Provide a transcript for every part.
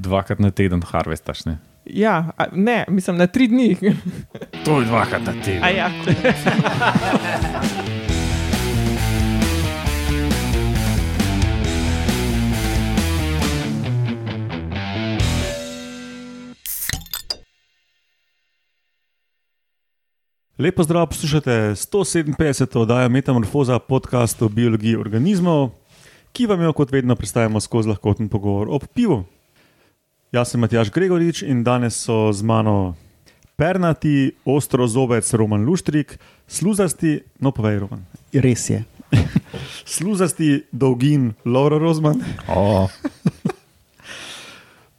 dvakrat na teden harvestaš. Ne? Ja, a, ne, mislim na tri dni. To je dvakrat na teden. A ja. Lepo zdrav, poslušate 157. oddajo Metamorfoza, podcast o biologiji organizmov, ki vam jo kot vedno predstavljamo skozi lahkoten pogovor ob pivu. Jaz sem Matjaš Gregorič in danes so z mano pernati, ostro zobec Roman Luštrik, sluzasti, no povej Roman, Res je. sluzasti dolgin Laura Rozman, O,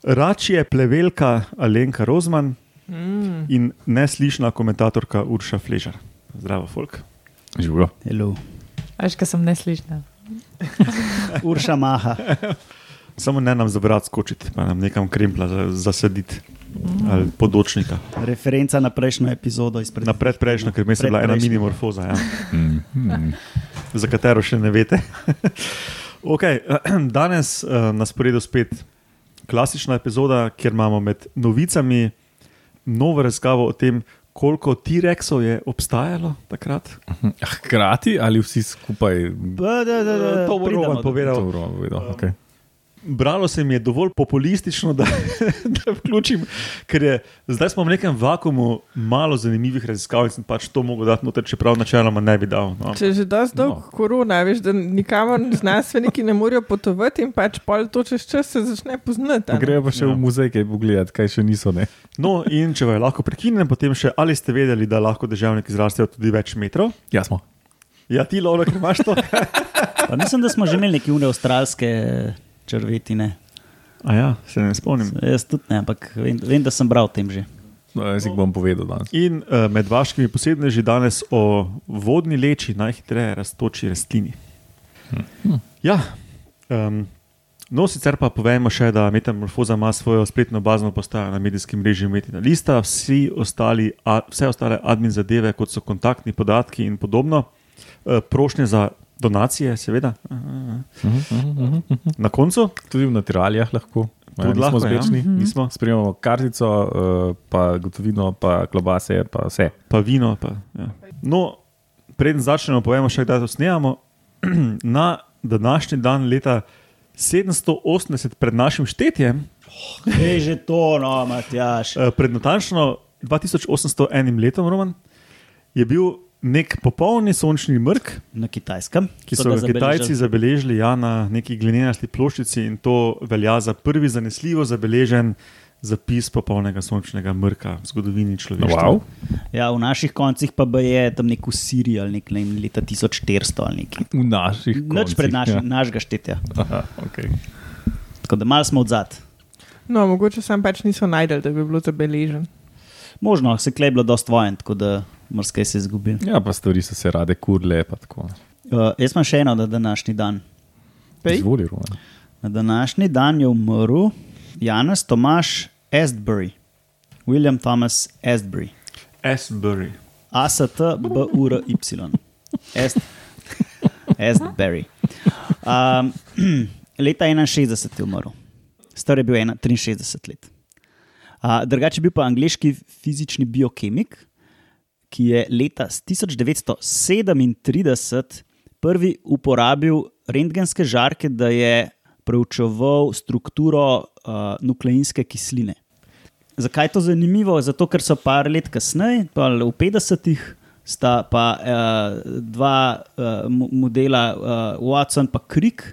račje plevelka Alenka Rozman Mm, in neslišna komentatorka Urša Fležar. Zdravo, folk. živo. Hello. Veš, kaj sem neslišna. Urša maha. Samo ne nam zabrat skočiti, pa nam nekam krempla za- zasaditi ali podočnika. Referenca na prejšnjo epizodo izpred. Na predprejšnjo, ker mislim, da je bila ena Predprejšnjo. minimorfoza, ja, Mm, mm. za katero še ne veste. okay, danes uh, na sporedu spet klasična epizoda, kjer imamo med novicami novo razkavo o tem, koliko T-rexov je obstajalo takrat. Hkrati ali vsi skupaj? Da, da, da, da, To bo pridemo Roman do- povedal. To Roman povedal, okej. Bralo se mi je dovolj populistično, da, da vključim, ker je zdaj smo v nekem vakumu malo zanimivih raziskav in sem pač to mogel dati noter, čeprav načeloma ne bi dal. No. če že dosti dolg No. no. korona, veš, da nikamor znanstveniki ne morejo potovati in pač pol to čez čas se začne poznati. a ne. Grejo pa še v muzej, kaj pogledati, kaj še niso. Ne? no, in če vas lahko prekinem, potem še ali ste vedeli, da lahko državniki zrastejo tudi več metrov. Ja, smo. Ja, ti lovek imaš to. Pa mislim, da smo že imeli neke une avstralske črvetine. A ja, se ne spomnim. Jaz tudi ne, ampak vem, vem da sem bral o tem že. No, jaz jih bom povedal danes. In uh, med vaškimi posebneži danes o vodni leči, najhitreje raztoči rastlini. Ja, um, no, sicer pa povejmo še, da Metamorfoza ima svojo spletno bazno postajo na medijskem mreži Metina Lista, vsi ostali, a, vse ostale admin zadeve, kot so kontaktni podatki in podobno, uh, prošnje za donacije, seveda. Na koncu, Tudi v natiralijah lahko. Ja, Tudi nismo lahko, ja. zbečni, Mhm. nismo. Spremljamo kartico, eh, pa gotovino, pa klobase, pa vse. pa vino. Pa, ja. No, preden začnemo, povemo še, kdaj to snemamo. Na današnji dan, leta 780 pred našim štetjem, Je že to, no, Matjaš. eh, pred natančno 2801 letom, Roman, je bil nek popolni sončni mrk, Na kitajskem. ki So so ga ga Kitajci zabeležili. zabeležili ja, na neki glinenasti ploščici, in to velja za prvi zanesljivo zabeležen zapis popolnega sončnega mrka v zgodovini človeštva. No, Wow. Ja, v naših koncih pa baje je tam neko Sirijo ali nek, ne vem, leta 1400 ali nekaj. V naših. Nič pred našim, ja. koncih, našega štetja. Ja. Aha, okay. Tako da malo smo odzad. No, mogoče sam pač niso najdel, da bi bilo zabeležen. Možno, se klej je bilo dosti vojen, tako da morske se je izgubil. ja, pa stvari so se rade kurle. pa tako. Uh, jaz imam še eno na današnji dan. Pej. Izvoli, Roman. Na današnji dan je umrl Janes Tomaš Astbury, William Thomas Astbury, Asbury. ASTBURY, Ast, Astbury. Um, leta 61 je umrl, star je bil ena- 63 let. Uh, drugače je bil pa angliški fizični biokemik, ki je leta 1937 prvi uporabil rentgenske žarke, da je preučeval strukturo uh, nukleinske kisline. Zakaj je to zanimivo? Zato, ker so par let kasneje, pa v 50-ih, sta pa uh, dva uh, modela, uh, Watson in Crick,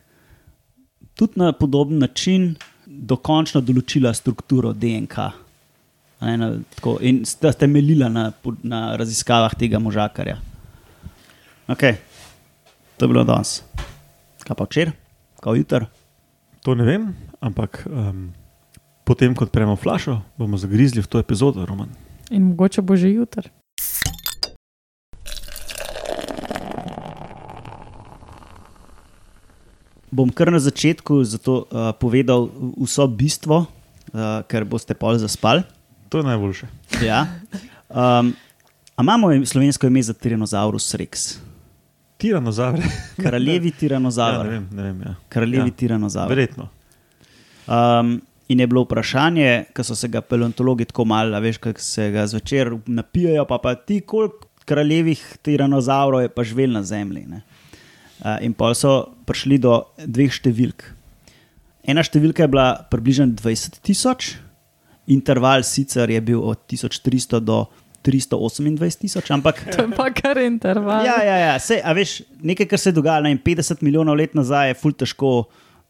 tudi na podoben način dokončno določila strukturo DNK. A Ne, na, tako, in sta temeljila na, po- na raziskavah tega možakarja. Okay. To je bilo danes. Kaj pa včeraj, kaj jutr? To ne vem, ampak um, potem, ko odpremo flašo, bomo zagrizli v to epizodo, Roman. In mogoče bo že jutr. Bom kar na začetku zato, uh, povedal vso bistvo, uh, ker boste pol zaspali. To je najboljše. Ja. Um, a imamo im- slovensko ime za Tiranozaurus rex, Tiranozaur. kraljevi ja, ne tiranozaur, vem, ne vem. Ja. kraljevi ja. tiranozaur. Verjetno. Um, In je bilo vprašanje, ki so se ga paleontologi tako malo, a veš, kaj se ga zvečer napijajo, pa, pa ti, koliko kraljevih tiranozavrov je pa živel na zemlji. Ne? Uh, In pa so prišli do dveh številk. Ena številka je bila približno 20 tisoč, interval sicer je bil od 1300 do 328 tisoč, ampak To je pa kar interval. Ja, ja, ja. Sej, a veš, nekaj, kar se je dogajalo ne vem, 50 milijonov let nazaj, je ful težko,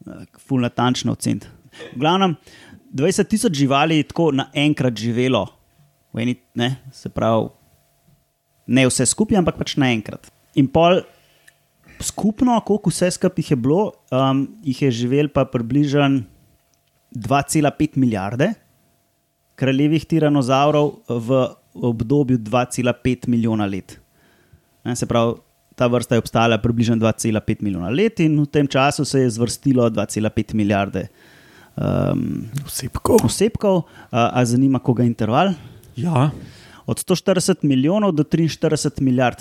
eh, ful natančno oceniti. V glavnem, 20 tisoč živali je tako naenkrat živelo, v eni, ne, se pravi, ne vse skupaj, ampak pač naenkrat. In pol skupno, koliko vse skupaj jih je bilo, um, jih je živelo pa približno 2,5 milijarde kraljevih tiranozavrov v obdobju 2,5 milijona let. Ne, se pravi, ta vrsta je obstajala približno 2,5 milijona let in v tem času se je zvrstilo 2,5 milijarde um, Vsepko. osebkov, uh, a zanima koga interval. Ja, Od 140 milijonov do 43 milijard.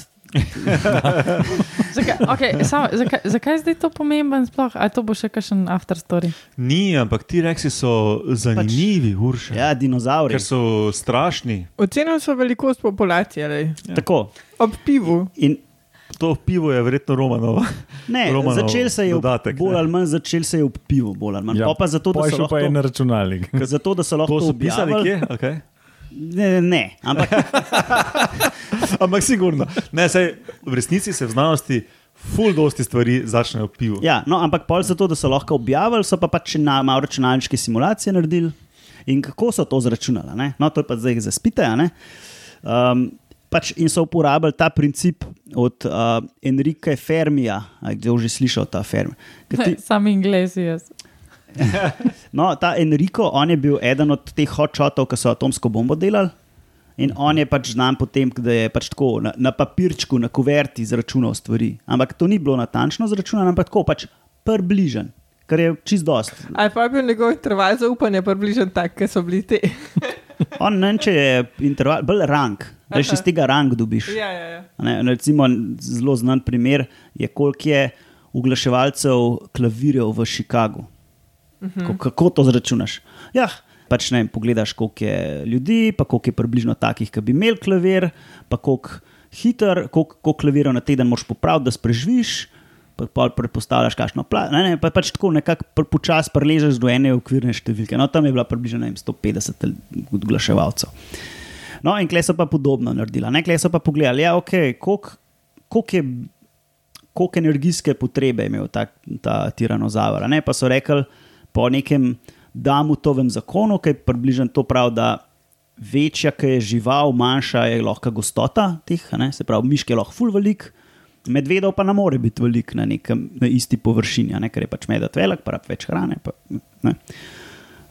Zakaj, okay, samo, zakaj, zakaj je zdaj to pomemben sploh? A to bo še kakšen after story? ni, ampak ti reksi so zanimivi, pač, urša. Ja, dinozauri. Ker so strašni. Ocenili so velikost populacije, lej. Ja. Tako. ob pivu. In To pivo je verjetno Romanova. ne, Romanov začel se je dodatek, dodatek, bolj ne. ali manj začel se je ob pivu, bolj ali manj. Ja, pa zato, da pol je so šel lahko, pa je na računalnik. zato, da so lahko To so pisali objavili- kje? Okay. Ne, ne, ne, ampak Ampak sigurno. Ne, saj, v resnici se v znanosti ful dosti stvari začnejo ob pivu. Ja, no, ampak pol zato, da so lahko objavili, so pa pač na malo računalniške simulacije naredili. In kako so to zračunali? Ne? No, to je pa zdaj zaspite. a ne. Um, pač in so uporabili ta princip od uh, Enrika Fermija, ali kdo že slišal ta Fermi. Ker Ti, Sam inglesi jaz. no, ta Enrico, on je bil eden od teh hočotov, ki so atomsko bombo delali. In on je pač znan po tem, da je pač tako na, na papirčku, na kuverti izračunal stvari. Ampak to ni bilo natančno izračunano, ampak tako pač približen, kar je čist dost. Ali pa je bil njegov interval zaupanja približen tak, ki so bili ti. On ne vem, če je interval, bolj rank, da še iz tega rank dobiš. ja, ja, ja. A Ne, recimo, zelo znan primer je, koliko je oglaševalcev klavirjev v Chicagu. Ko, kako to zračunaš? Ja, pač ne vem, pogledaš, koliko je ljudi, pa koliko je približno takih, ki bi imeli klavir, pa koliko hiter, koliko, koliko klavirjev na teden moš popraviti, da spreživiš. Pa pol predpostavljaš, kakšno plačo. Ne, ne, pa pač tako nekako pr- počasi preležeš do ene okvirne številke. No, tam je bila približno ne vem, 150 l- oglaševalcev. No, in klej so pa podobno naredila. Ne, klej so pa pogledali, ja, okay, koliko kolik je. Koliko energijske potrebe je imel ta, ta tiranozaur? a ne. Pa so rekli po nekem Damutovem zakonu, ki je približno to prav, da večja ko je žival, manjša je lahko gostota teh, a ne, se pravi, miške lahko ful velik, medvedov pa ne more biti velik na, nekem, na isti površini, a ne, ker je pač medved velik, pa rab več hrane. Pa, ne.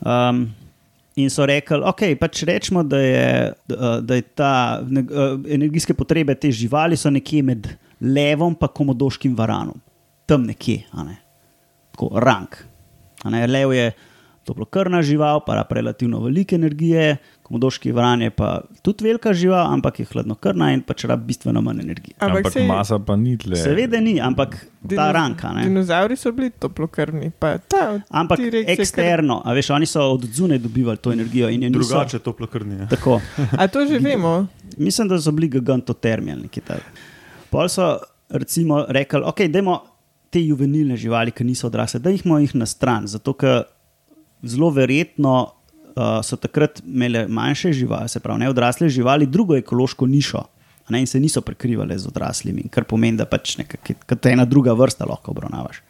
Um, in so rekli, ok, pač rečemo, da je, da- da je ta ne, eh, energijske potrebe te živali so nekje med levom in komodoškim varanom, tam nekje, a ne? tako rank. a Ne? Lev je toplokrvna žival, pa rab relativno velike energije, komodoški varan je pa tudi velika žival, ampak je hladnokrvna in pač rab bistveno manj energije. Ampak, ampak saj masa pa ni tle. Seveda ni, ampak ta dinoz- ranka. Ne? Dinozauri so bili toplokrvni, pa ta. Ampak ti reakcije kar- eksterno, a veš, oni so od zunaj dobivali to energijo in je niso- Drugače toplo krvni. Tako. A to že vemo. Mislim, da so bili gigantotermi ali nekaj takega. Pol so recimo rekli, ok, dajmo te juvenilne živali, ki niso odrasle, da jih imamo jih na stran, zato ker zelo verjetno uh, so takrat imele manjše živali, se pravi neodrasle živali, drugo ekološko nišo. a Ne, in se niso prekrivali z odraslimi, kar pomeni, da pač nekako je- kot ena druga vrsta lahko obravnavaš.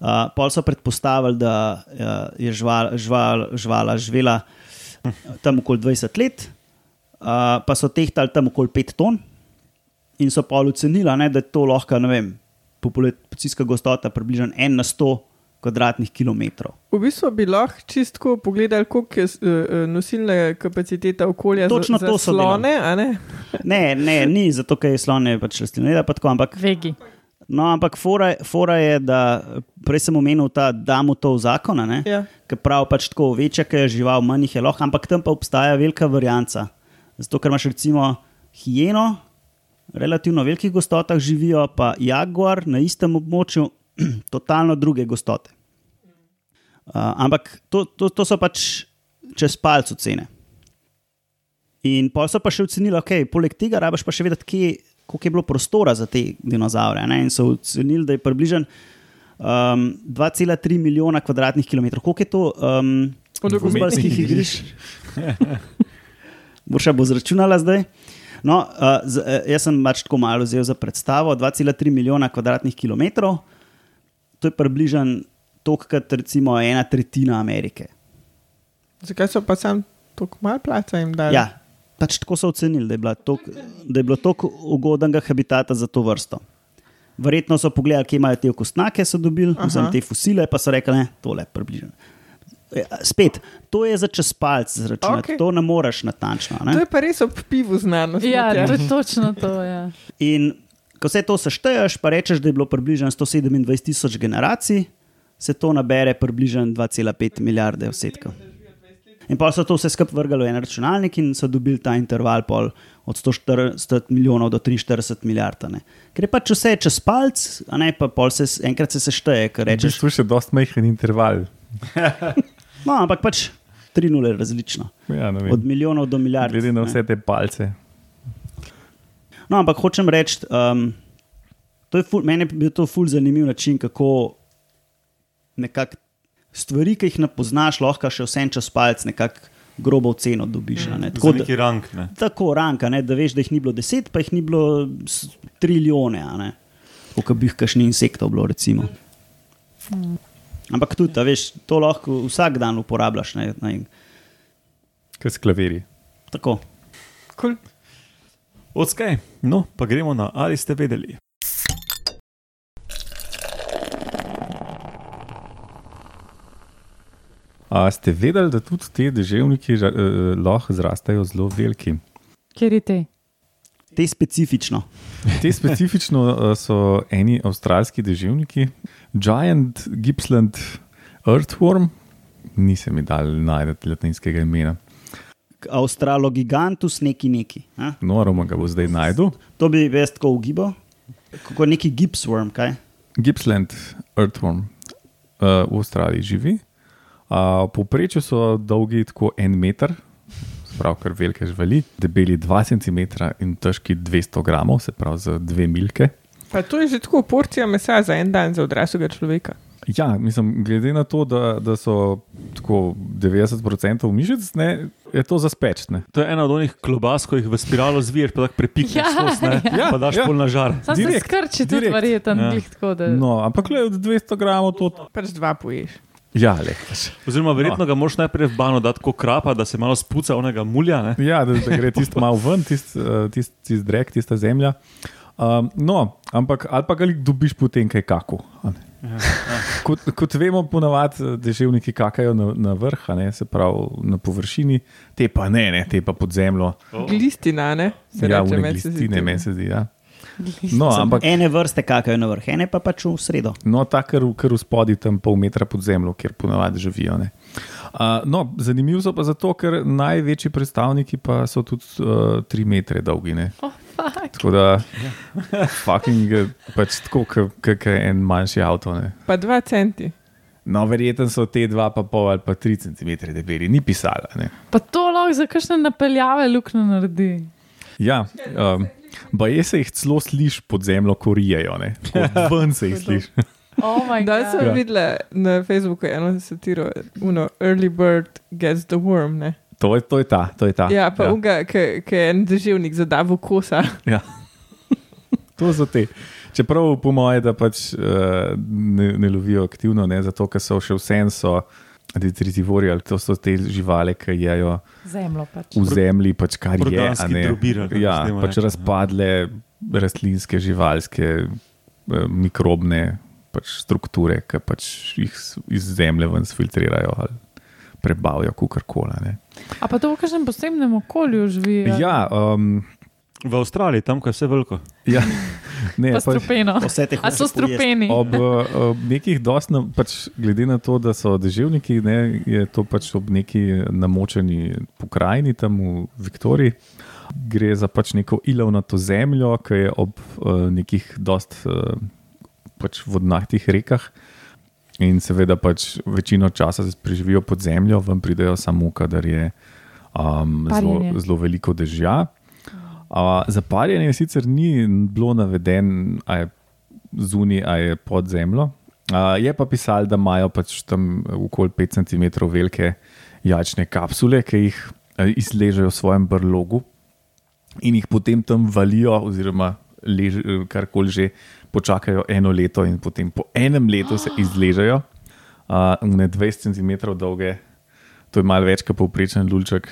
Uh, pol so predpostavili, da uh, je žval, žval, žvala živela tam okoli 20 let, uh, pa so tehtali tam okoli 5 ton in so pol ocenili, ne, da je to lahko, ne vem, populacijska gostota približno 1 na 100 kvadratnih kilometrov. V bistvu bi lahko čistko pogledali, koliko je s- eh, eh, nosilna kapaciteta okolja Točno za, to za so delali. slone, a ne? Ne, ne, ni zato, ker je slone pač rastlinjeda, pa tako, ampak Vegi. No, ampak fora, fora je, da prej sem omenil ta Damutov zakon, a ne, Ja. ki pravi pač tako, večja je žival, manj jih je lahko, ampak tam pa obstaja velika varianca. Zato, ker imaš recimo hijeno, relativno velikih gostotah živijo, pa jaguar na istem območju, totalno druge gostote. Uh, ampak to, to, to so pač čez palce cene. In pol so pa še ocenili, ok, poleg tega rabaš pa še vedeti, kje, koliko je bilo prostora za te dinozaure. Ne? In so ocenili, da je približno um, 2,3 milijona kvadratnih kilometrov. Koliko je to um, Od fuzbalskih igrišč? Boša bo zračunala zdaj. No, uh, z, eh, jaz sem pač tako malo vzel za predstavo, 2,3 milijona kvadratnih kilometrov, to je približno toliko kot recimo ena tretjina Amerike. Zakaj so pa sam tako malo plača jim dali? Ja, pač tako so ocenili, da je, bila tok, da je bilo toliko ugodnega habitata za to vrsto. Verjetno so pogledali, kje imajo te okostnake, so dobili, Aha. vsem te fosile, pa so rekli, ne, tole je približno. Ja, Spet, to je za čez palce Okej. zračunati, okay. to ne moreš natančno. To Ne? je pa res ob pivu znanost. Ja, Matjaž. to je točno to. Ja. In ko vse to sešteješ, pa rečeš, da je bilo približno 127 tisoč generacij, se to nabere približno 2,5 milijarde odsetkov. In pa so to vse skupaj vrgli v en računalnik in so dobili ta interval pol od 140 milijonov do 43 milijard. a ne. Ker je pač vse čez palc, a ne pa pol se s- enkrat se sešteje, ker Če rečeš. si še dosti majhen interval. No, ampak pač tri nule različno. Ja, ne vem. Od milijonov do milijard. Glede na ne. vse te palce. No, ampak hočem reči, um, to je ful, meni je bil to ful zanimiv način, kako nekako stvari, ki jih ne poznaš, lahko še vsem čez palec nekako grobo ceno dobiš. a Ne? Tako, Kot da, neki rank. Ne. tako ranka, ne? da veš, da jih ni bilo deset, pa jih ni bilo s- trilijone, a ne? kot bi jih kašni insektov bilo. Recimo. Ampak tudi, a veš, to lahko vsak dan uporabljaš. Ne? Ne? Kaj s klaviri? Tako. Kul. Odskaj. No, pa gremo na ali ste vedeli. A ste vedeli, da tudi ti deževniki ža- eh, lahko zrastejo zelo veliki? Kjer je te? Te specifično. Te specifično eh, so eni avstralski deževniki, Giant Gippsland Earthworm, nisem mi dal najti latinskega imena, K Australogigantus neki neki. A? noroma No, ga bo zdaj najdel. To bi jaz tako ugibal, kot neki gipsworm, kaj? Gippsland Earthworm uh, v Avstraliji živi. Uh, Poprečju so dolgi tako en meter, prav kar velike živali, debeli 2 cm in težki 200 gramov, se pravi za dve milke. Pa to je že tako porcija mesa za en dan za odraslega človeka. Ja, mislim, glede na to, da, da so tako 90% mišic, ne, je to za spečne. To je ena od onih klobas, ko jih v spiralo zviješ, pa tako prepikneš Ja, skozi, ne, ja. pa daš Ja. pol na žar. Sam se Direkt, skrči, tudi direkt. verjeten, Ja. ja. tako da. No, ampak le od 200 gramov to. Pač dva poješ. Ja, le. Oziroma, verjetno ga moraš najprej v bano dati kot krapa, da se malo spuca onega mulja. Ne. Ja, da, da gre tisto malo ven, tisti tist, tist drek, tista zemlja. Um, no, ampak ali pa ga li- dobiš potem kaj kaku. a ne. Kot, kot vemo, ponavadi eh, deževniki kakajo na, na vrh, a ne, se pravi na površini, te pa ne, ne te pa pod zemljo. Glistina, ne? Se Ja, reče, v meni se zdi neglistine, tudi. meni se zdi. Ja. No, ampak Ene vrste kakajo na vrh, ene pa pač v sredo. No, ta kar, v- kar v spodnji, tam pol metra pod zemljo, kjer ponavadi živijo. ne. Uh, no, zanimivo so pa zato, ker največji predstavniki pa so tudi uh, tri metre dolgi. Ne? Oh, fuck. Tako da, fucking, eh, pač tako, kot en manjši avto. Ne? Pa dva centi. Oh No, verjetno so te dva, pa pol ali pa tri centimetre debeli, ni pisala. Ne? Pa to lahko za kakšne napeljave luknje naredi. Ja, um, baje se jih celo sliši pod zemljo, korijejo. ne. Tako Ven se jih sliši. Oh my Da sem God. ja. videla na Facebooku eno satiro, uno, early bird gets the worm, ne? To je, to je ta, to je ta. Ja, pa ja. unga, ki je en deževnik zadavo kosa. Ja. to so te. Čeprav, po mojem, da pač uh, ne, ne lovijo aktivno, ne, zato ker so še vsem so detritivori ali to so te živali, ki jejo Zemljo pač. v zemlji, pač kar je. a Organski ne. drobir, ali kako Ja, se temu pač reče, ne. razpadle rastlinske, živalske, eh, mikrobne pač strukture, ki pač jih s- iz zemlje ven filtrirajo ali prebavijo, kako koli. A pa to v kakšnem posebnem okolju živi. ali? Ja, um, V Avstraliji, tam, ko je vse veliko. ja. Ne, Pa pač- strupeno. Vse te A so hoče pojesti. strupeni? Ob, eh, ob nekih dostna, pač glede na to, da so deževniki, ne, je to pač ob neki namočeni pokrajini tam v Viktoriji. Gre za pač neko ilovnato zemljo, ki eh, je ob uh, nekih dost uh, pač vodnatih rekah. In seveda pač večino časa preživijo pod zemljo, ven pridejo samo, kadar je um, zelo, Parjenje. zelo veliko dežja. Uh, za parjenje sicer ni bilo naveden, a je zunaj, a je pod zemljo. Uh, je pa pisal, da imajo pač tam okoli 5 cm velike jačne kapsule, ki jih uh, izležejo v svojem brlogu in jih potem tam valijo, oziroma lež, karkoli že, počakajo eno leto in potem po enem letu se izležejo. Uh, ne 20 cm dolge, to je malo več kot povprečen lulček.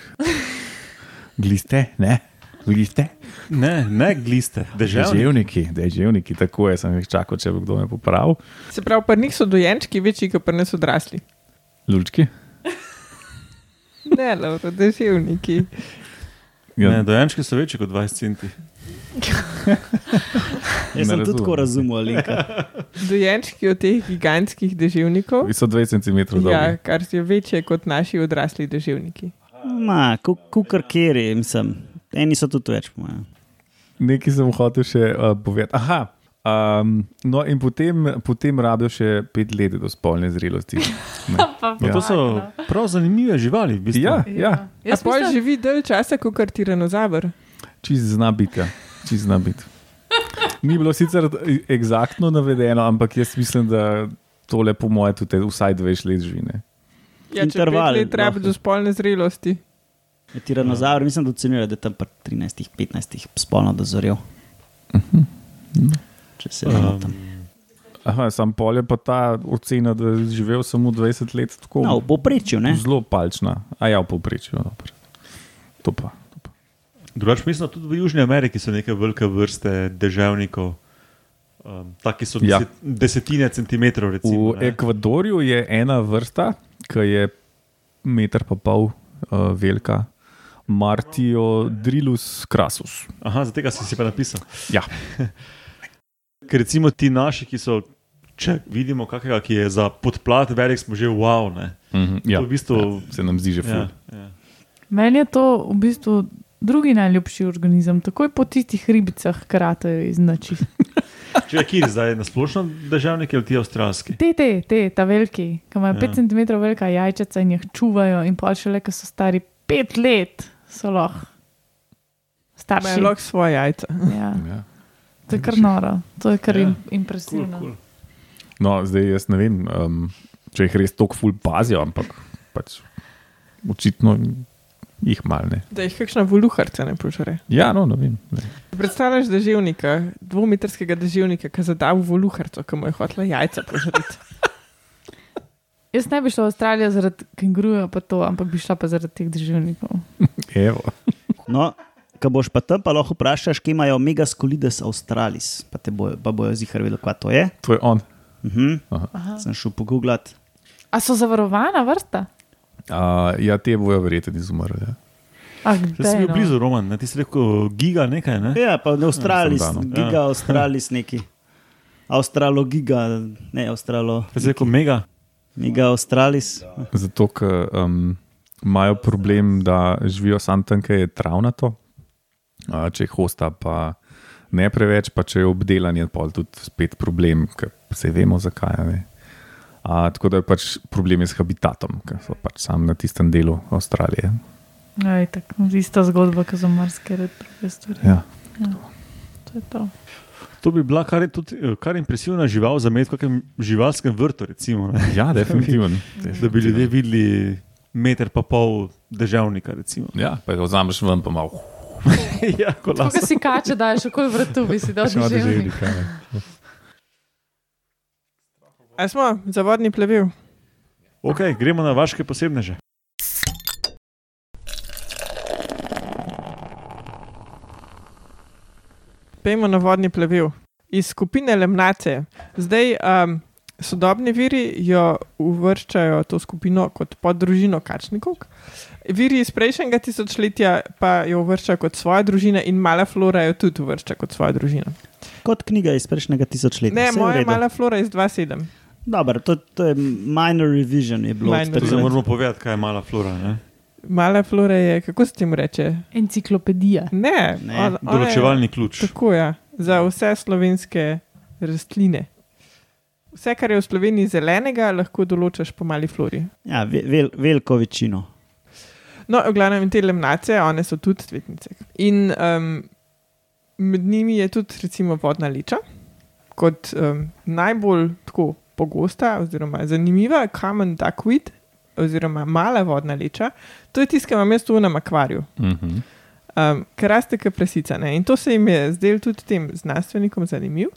Gliste, ne, gliste. Ne, ne gliste, deževni. Deževniki, deževniki, tako je, sem jih čakal, če bo kdo me popravil. Se pravi, pa njih so dojenčki večji, kot pa nas odrasli. Lulčki. Ne, Laura, deževniki. ja. Ne, dojenčki so večji kot 20 centi. Ne Jaz sem razumem. tudi tako razumel, Linka. Dojenčki od teh gigantskih deževnikov. So 20 cm dolgi. Ja, kar je večje kot naši odrasli deževniki. Ma, kukar kjeri, mislim. Eni so tudi več, po mojem. Nekaj sem hotel še uh, povedati. Aha. Um, no, in potem, potem rabijo še pet let do spolne zrelosti. Ne. Pa No, to so pakla. prav zanimive živali, v bistvu. Ja, ja. Ja. Ja, Jaz pa mislim, živi dlje časa kot tiranozavr. čist zna biti. Ja. Čist zna biti. Ni bilo sicer eksaktno navedeno, ampak jaz mislim, da tole, po mojem, tudi vsaj 20 let živine. Ja, če Interval, pet let rabi lahko. do spolne zrelosti. Ja, Tiranozaur, mislim, da ocenjuje, da je tam pri 13-15 spolno dozorel. Mhm. Če se ne motim. Aha, sam polje pa ta ocena, da je živel samo 20 let, tako No, v povprečju, ne? zelo palčna. A ja, v povprečju. dobro. To pa. to pa. Drugač, mislim, da tudi v Južni Ameriki so neke velike vrste deževnikov. Um, taki so Ja. deset, ja. desetine centimetrov. Recimo, V ne. Ekvadorju je ena vrsta, ki je meter pa pol uh, velika, Martio Drilus Crasus. Aha, za tega si, si pa napisal. Ja. Ker recimo ti naši, ki so, če vidimo kakega, ki je za podplat velik, smo že wow. Ne? Mhm, ja. To v bistvu- ja, se nam zdi že ful. Ja, ja. Meni je to v bistvu drugi najljubši organizem, takoj po tistih ribicah, ki ratajo iz noči. Če je kjer zdaj na splošno deževnik ali ti avstralski? Te, te, te, ta veliki, ki imajo Ja. 5 cm velika jajčica in jih čuvajo, in pa še le, ki so stari 5 let, so lahko starši. Imajo lahko svoje jajca. Ja, Ja. to je kar noro, to je kar Ja. im, Cool, impresivno. cool. No, zdaj jaz ne vem, um, če jih res tako ful pazijo, ampak pač, očitno jih malne. Da jih kakšna voluharca ne požre. Ja, no, ne vem. Ne. Predstavljaš deževnika, dvometrskega deževnika, ki zada v voluharco, ki mu je hotela jajca požreti. Jaz ne bi šla v Avstralijo zaradi kenguruja, pa to, ampak bi šla pa zaradi teh državnikov. Evo. No, ko boš pa tam, pa lahko vprašaš, kje imajo megaskolides australis, pa, te bojo, pa bojo zihar vedeli, kaj to je. To je on. Mhm. Aha. Sem šel pogooglati. A so zavarovana vrsta? Uh, ja, te bojo verjetno izumrli. Ja. A, Zdaj si kdaj, bil no? blizu Roman, ne? ti si rekel eh, giga nekaj. Ne? Ja, pa ne Avstralis, Sem dano. giga Avstralis neki. Avstralogiga, ne Avstralo, Jaz sem rekel mega. mega Avstralis. Zato, ker um, imajo problem, da živijo sam tam, kjer je travnato, uh, če jih hosta, pa ne preveč, pa če je obdelan, je pol tudi spet problem, ker se vemo, zakaj. a Ne. Uh, tako da je pač problem je s habitatom, ker so pač sam na tistem delu Avstralije. Aj, tako, ista zgodba, kot za marsikere druge stvari. Ja. To je to. To bi bila kar, tudi, eh, kar impresivna žival za med v kakem živalskem vrtu. Recimo, ne. Ja, definitivno. da bi ljudje videli meter pa pol deževnika. Recimo. Ja, pa ga vzameš ven, pa malo. ja, Ko kolas. si kače daš okoli vrtu, bi si dal Še malo državnik. deževnika. ne. A smo za vodni plevel? Ok, gremo na vaške posebneže. Pejmo na vodni plevel. Iz skupine Lemnace. Zdaj um, sodobni viri jo uvrščajo to skupino kot poddružino kačnikov. Viri iz prejšnjega tisočletja pa jo uvrščajo kot svojo družino in mala flora jo tudi uvršča kot svojo družino. Kot knjiga iz prejšnjega tisočletja. Ne, Saj v moja redu. mala flora iz 2.7. Dobro, to, to je minor revision, je bilo Minor od Zdaj takrat. moramo povedati, kaj je mala flora. Ne? Mala flora je, kako se temu reče? Enciklopedija. Ne, Ne, on- ona je- Določevalni ključ. Tako je, ja, za vse slovenske rastline. Vse, kar je v Sloveniji zelenega, lahko določaš po mali flori. Ja, ve- vel, veliko večino. No, v glavnem in te lemnace, one so tudi cvetnice. In um, med njimi je tudi recimo vodna liča, kot um, najbolj tako pogosta oziroma zanimiva kamen duckweed oziroma mala vodna liča. To je tisto, kar imam jaz tu na akvariju. Mhm. um, ker raste kot prasica. Ne? In to se jim je zdelo tudi tem znanstvenikom zanimivo.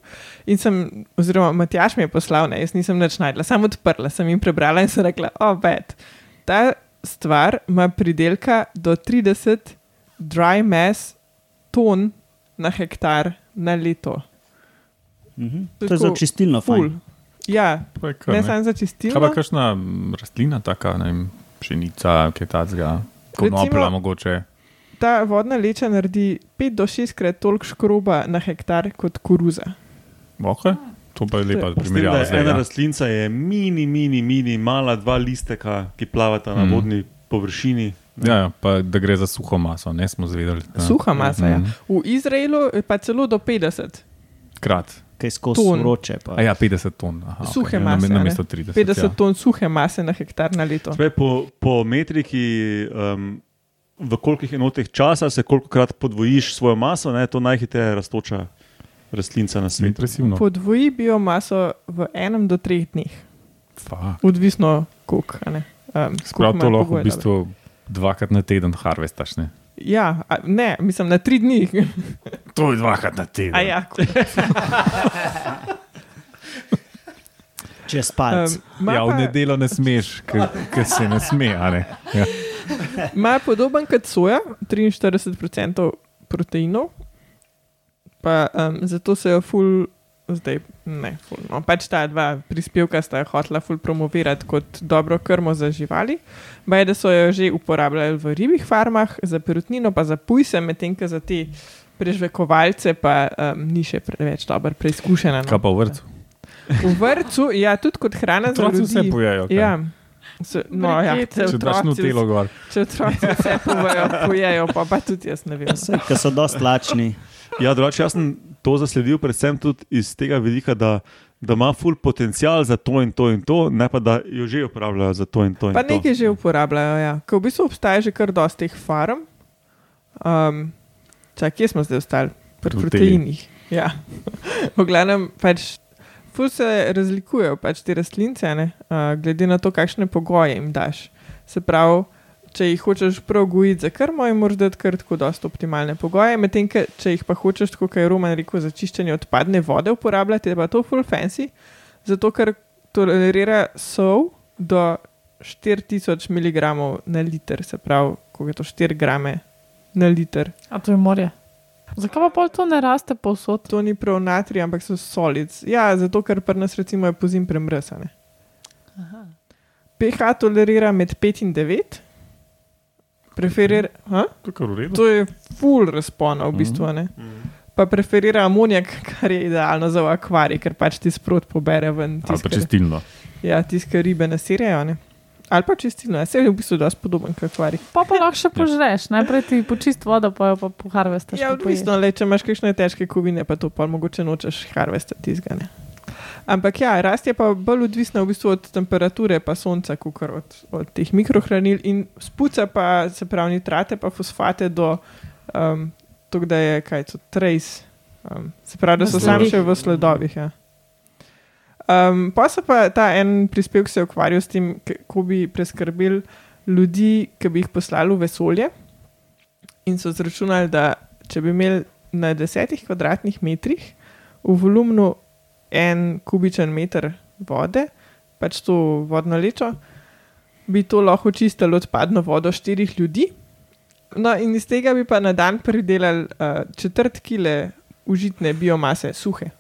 In sem, oziroma Matjaš mi je poslal, ne, jaz nisem nič najdla, samo odprla sem jim prebrala in sem rekla, obet. Ta stvar ima pridelka do 30 dry mass ton na hektar na leto. Mhm. To je To je za tako čistilno Ful. fajn. Ja, Pa je No, kar, ne ne. samo za Kaj pa čistilno. kakšna m, rastlina, taka, ne vem, pšenica, kaj takega, konoplja Recimo- mogoče? mogoče. Ta vodna leča naredi 5 do 6 krat toliko škroba na hektar kot koruza. Okay. To pa je lepa S tem, da primerjava. je Zdaj, Ena ja. rastlinca je mini, mini, mini, mala dva listeka, ki plavata na Mhm. vodni površini. Ja, ja, pa, da gre za suho maso, ne smo zvedeli. Ja. Suha masa. Ja. Mhm. V Izraelu je pa celo do 50. Krat. Kaj skozi Ton. vroče. pa. A ja, 50 ton. Aha, Suhe okay. mase, a ne? Na mesto 30. 50 ja. ja. ton suhe mase na hektar na leto. Sprej, po, po metriki, um, v kolikih enotah časa se kolikokrat podvojiš svojo maso, ne, to je najhitreje rastoča rastlinca na svetu. Impresivno. Podvoji biomaso v enem do treh dneh, Fuck. odvisno koliko. a ne, Prav Um, koliko to ima lahko v pogoja, dobro. bistvu dvakrat na teden harvestaš. Ne? Ja, a, ne, mislim na tri dni. To je dvakrat na teden. A ja, Čez palec. Um, ma Ja, v pa- nedeljo ne smeš, ker se ne sme. a Ne? Ja. Ma podoben kot soja, 43% proteinov, pa um, zato se jo ful, zdaj ne, ful, no, pač ta dva prispevka sta jo hotla ful promovirati kot dobro krmo za živali. Baj, da so jo že uporabljali v ribjih farmah, za perutnino, pa za pujse, medtem ko za te prežvekovalce pa um, ni še preveč dobro preizkušena. Kaj No. pa v vrtu? V vrtu, ja, tudi kot hrana za Otroci vse ljudi. pojejo. kaj? Ja. So, no, ja, Brikete. Če daš otroci nutelo gor. Če otroci vse povejo, pojejo, pa, pa tudi jaz ne vem. no. Vse, ki so dosti lačni. Ja, drugače, jaz sem to zasledil predvsem tudi iz tega vidika, da, da ima ful potencial za to in to in to, ne pa da jo že uporabljajo za to in to. In Pa to. nekaj že uporabljajo, ja. Ker v bistvu obstaja že kar dosti teh farm. Um, čak, kje smo zdaj ostali? Pri Pri proteinih. Ja. v glavnem, pač ful se razlikujejo pač te rastlince, a ne, uh, glede na to, kakšne pogoje jim daš. Se pravi, če jih hočeš prav gojiti za krmo, jim moraš dati kar tako dosto optimalne pogoje, medtem, ko če jih pa hočeš, tako kot je Roman rekel, za čiščenje odpadne vode uporabljati, je pa to full fancy, zato ker tolerira sov do 4000 mg na liter, se pravi, koliko je to 4 grame na liter. A to je morje. Zakaj pa pol to ne raste povsod? To ni prav natrij, ampak so solids. Ja, zato ker pri nas recimo je pozim premrsane. pH tolerira med 5 in 9. Preferira, Mhm. ha? Tukaj v redu. to je full razpona v bistvu. a Ne? Mhm. Pa preferira amonijak, kar je idealno za v akvarij, ker pač ti sprot pobere ven Ali pa tiskar, čistilno. ja, tiskar ribe naserjajo. a ne. Ali pa čistilno, ja, se je v bistvu dosti podoben kot akvarij. Pa pa lahko še požreš, najprej ti počist vodo, pa jo pa poharvestaš. Ja, pa poješ. odvisno, le, če imaš kakšne težke kovine, pa to pa mogoče nočeš harvestati izgane. Ampak ja, rast je pa bolj odvisna v bistvu od temperature, pa sonca, kot od, od teh mikrohranil in spuca pa se pravi nitrate, pa fosfate do um, tega, da je kaj to trace. Um, se pravi, da so V sami sledih. še v sledovih. Ja. Um, pa se pa ta en prispevek se je ukvarjal s tem, kako bi preskrbeli ljudi, ki bi jih poslali v vesolje. In so zračunali, da če bi imeli na desetih kvadratnih metrih v volumnu en kubičen meter vode, pač to vodno lečo, bi to lahko čistili odpadno vodo štirih ljudi. No, in iz tega bi pa na dan pridelali uh, četrt kile užitne biomase, suhe.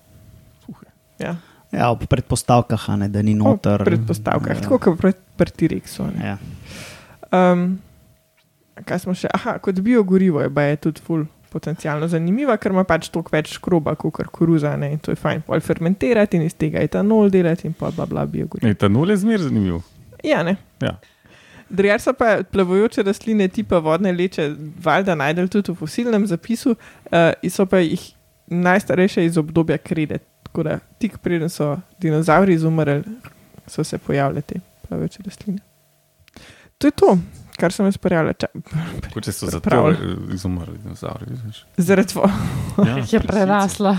Ja, ob predpostavkah, a ne, da ni noter. Ob predpostavkah, Ja. tako kot pri, pri T-Rexu. ne. Ja. Um, kaj smo še? Aha, kot biogorivo je, pa je tudi ful potencialno zanimiva, ker ima pač toliko več škroba, kot kar koruza, ne? in to je fajn pol fermentirati in iz tega etanol delati in pa bla bla biogorivo. Etanol je zmer zanimiv. Ja, ne. Ja. Drugar so pa plavajoče rastline tipa vodne leče, valjda eh, najdel tudi v fosilnem zapisu, uh, so pa jih najstarejše iz obdobja krede, Tako da, tik preden so dinozauri izumrli, so se pojavljale te plavajoče rastline. To je to, kar sem jaz prijavila. Kot če so zato, zato Pravil. izumrli dinozauri. Zaradi tvoje. Ja, Je prerasla.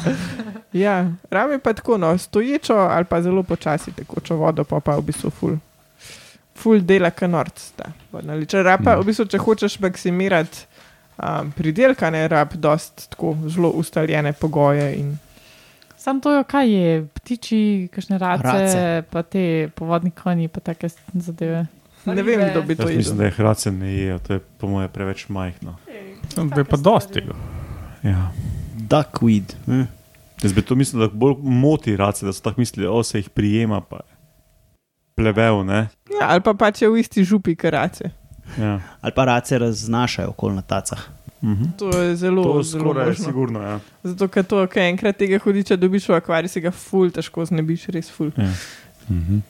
Ja, rame pa tako, no, stoječo ali pa zelo počasi tekočo vodo, pa pa v bistvu ful. Ful dela kanorc. Če rapa, Mm. v bistvu, če hočeš maksimirati um, pridelka, ne rab, dost tako zelo ustaljene pogoje. In, Sam to je, kaj je, ptiči, kakšne race, Race. race. pa te povodni konji, pa take zadeve. ne vem, kdo bi to Jaz mislim, da izvedel. je hrace ne jejo, to je po mojem preveč majhno. To je No, pa dosti tega. Ja. Duckweed. Hm. Jaz bi to mislil, da bolj moti race, da so tako mislili, o se jih prijema, pa plevel. Ne? Ja, ali pa pač je v isti župi karace. Ja. Ali pa race raznašajo okoli na tacah. Mhm. To je zelo, To zelo skoraj je možno. sigurno. Ja. Zato, ker to, kaj enkrat tega hudiča dobiš v akvarij, si ga ful težko znebiš, res ful. Mhm.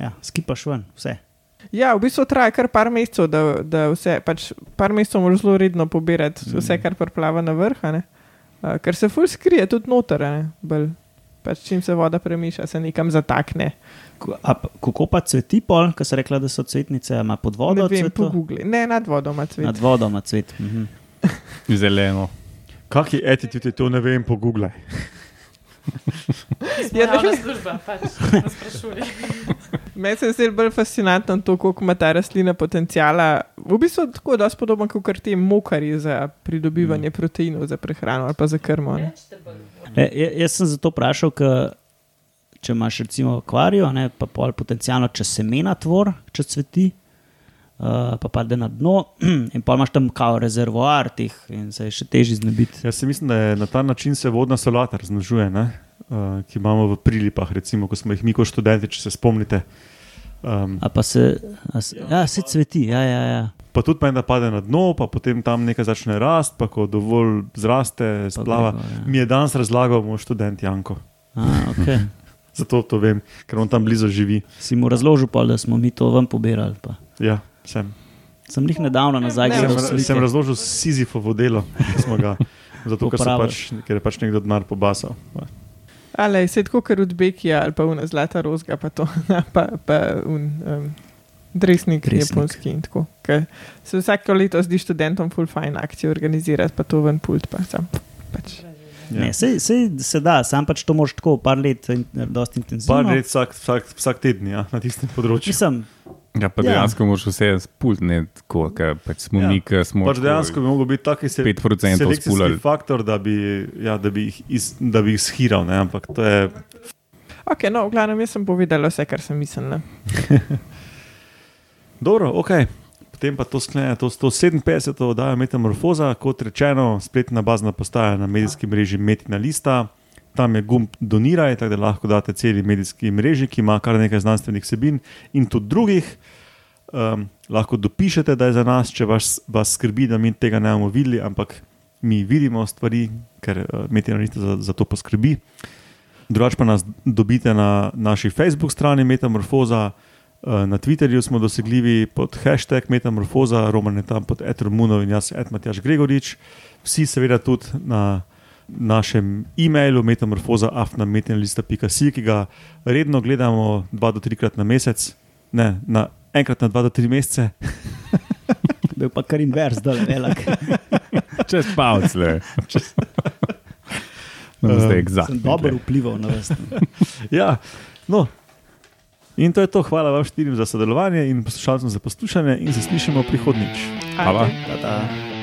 Ja, skipaš ven, vse. Ja, v bistvu traja kar par mesecev, da, da vse, pač par mesecev moraš zelo redno pobirati vse, kar preplava na vrh, a ne. uh, ker se ful skrije tudi noter, a ne, bolj. Pač čim se voda premiša, se nekam zatakne. Ko- a pa- Kako pa cveti pol, ki se rekla, da so cvetnice, ima pod vodo ne vem, cveto? pogugli. Ne, nad vodo ima cvet. Nad vodo ima cvet. Mhm. Zeleno. Kak je etiket, je to ne vem, pogooglaj. Ja, ne vem. služba, pač sprašuje. Meni se zdi bolj fascinantno to, koliko ima ta rastlina potencijala. V bistvu tako je dosti podoben kot ti mokari za pridobivanje proteinov za prehrano ali pa za krmo. Ne? E, ja- jaz sem zato vprašal, ker če imaš recimo akvarijo, ne, pa pol potencialno, če semena tvor, če cveti, uh, pa pade na dno, in pa imaš tam kao rezervoar teh in se je še težje znebiti. Jaz se mislim, da je na ta način se vodna solata razmnožuje, ne? uh, ki imamo v prilipah, recimo, ko smo jih mi kot študenti, če se spomnite. Um, A pa se, a se, ja, se cveti, ja, ja, ja. pa tudi meni, da pade na dno, pa potem tam nekaj začne rasti, pa ko dovolj zraste, Pa splava. gre gor, ja. Mi je danes razlagal moj študent Janko. A, okay. Zato to vem, ker on tam blizu živi. Si mu razložil, pol, da smo mi to ven pobirali. Pa. Ja, sem. Sem jih nedavno nazaj Ne, Sem, gledal. ra- ra- slike. sem razložil Sizifovo delo, ki smo ga. Zato, ker, so Popravili. pač, ker je pač nekdo denar pobasal. Ali se je tako, ker Udbekija ali pa una zlata rozga, pa to, ja, pa, pa un, um, dresnik, Dresnik. dresnik japonski in tako. Ker se vsako leto zdi študentom full fine akcije organizirati, pa to ven pult, pa sam. Pač. Ne, sej, sej se da, sam pač to moš tako, par let, in, eh, dosti intenzivno. Par let vsak, vsak, vsak teden ja, na tistem področju. Mislim, Ja, pa Ja. dejansko moraš vse spult, ne tako, ker pač smo Ja. mi, ki smo. Pač dejansko bi lahko bil taki se, 5% selekcijski spulali. faktor, da bi, ja, da bi jih, iz, da bi jih shiral, ne? ampak to je. Ok, no, v glavnem jaz sem povedala vse, kar sem mislila. Dobro, ok. Potem pa to sklene to 157. oddajo Metamorfoza, kot rečeno, spletna bazna postaja na medijski mreži Metina Lista. Tam je gumb doniraj, tako da lahko date celi medijski mreži, ki ima kar nekaj znanstvenih vsebin in tudi drugih. Um, lahko dopišete, da je za nas, če vas, vas skrbi, da mi tega ne bomo videli, ampak mi vidimo stvari, ker uh, Metina Lista za, za to poskrbi. Drugač pa nas dobite na naši Facebook strani Metamorfoza, eh, na Twitterju smo dosegljivi pod hashtag Metamorfoza, Roman je tam pod Edmunov in jaz, Edmatjaš Gregorič. Vsi seveda tudi na našem e-mailu metamorfoza.afnametenlista.si, ki ga redno gledamo dva do trikrat na mesec, ne, na enkrat na dva do tri mesece. bil pa kar invers, da je velik. Čez palc, le. No, Um, zdaj eksaktno. Sem dober vplival na vas. Ja, no. In to je to. Hvala vam štirim za sodelovanje in poslušalcem za poslušanje in se slišimo prihodnjič. Hvala. Ta, ta.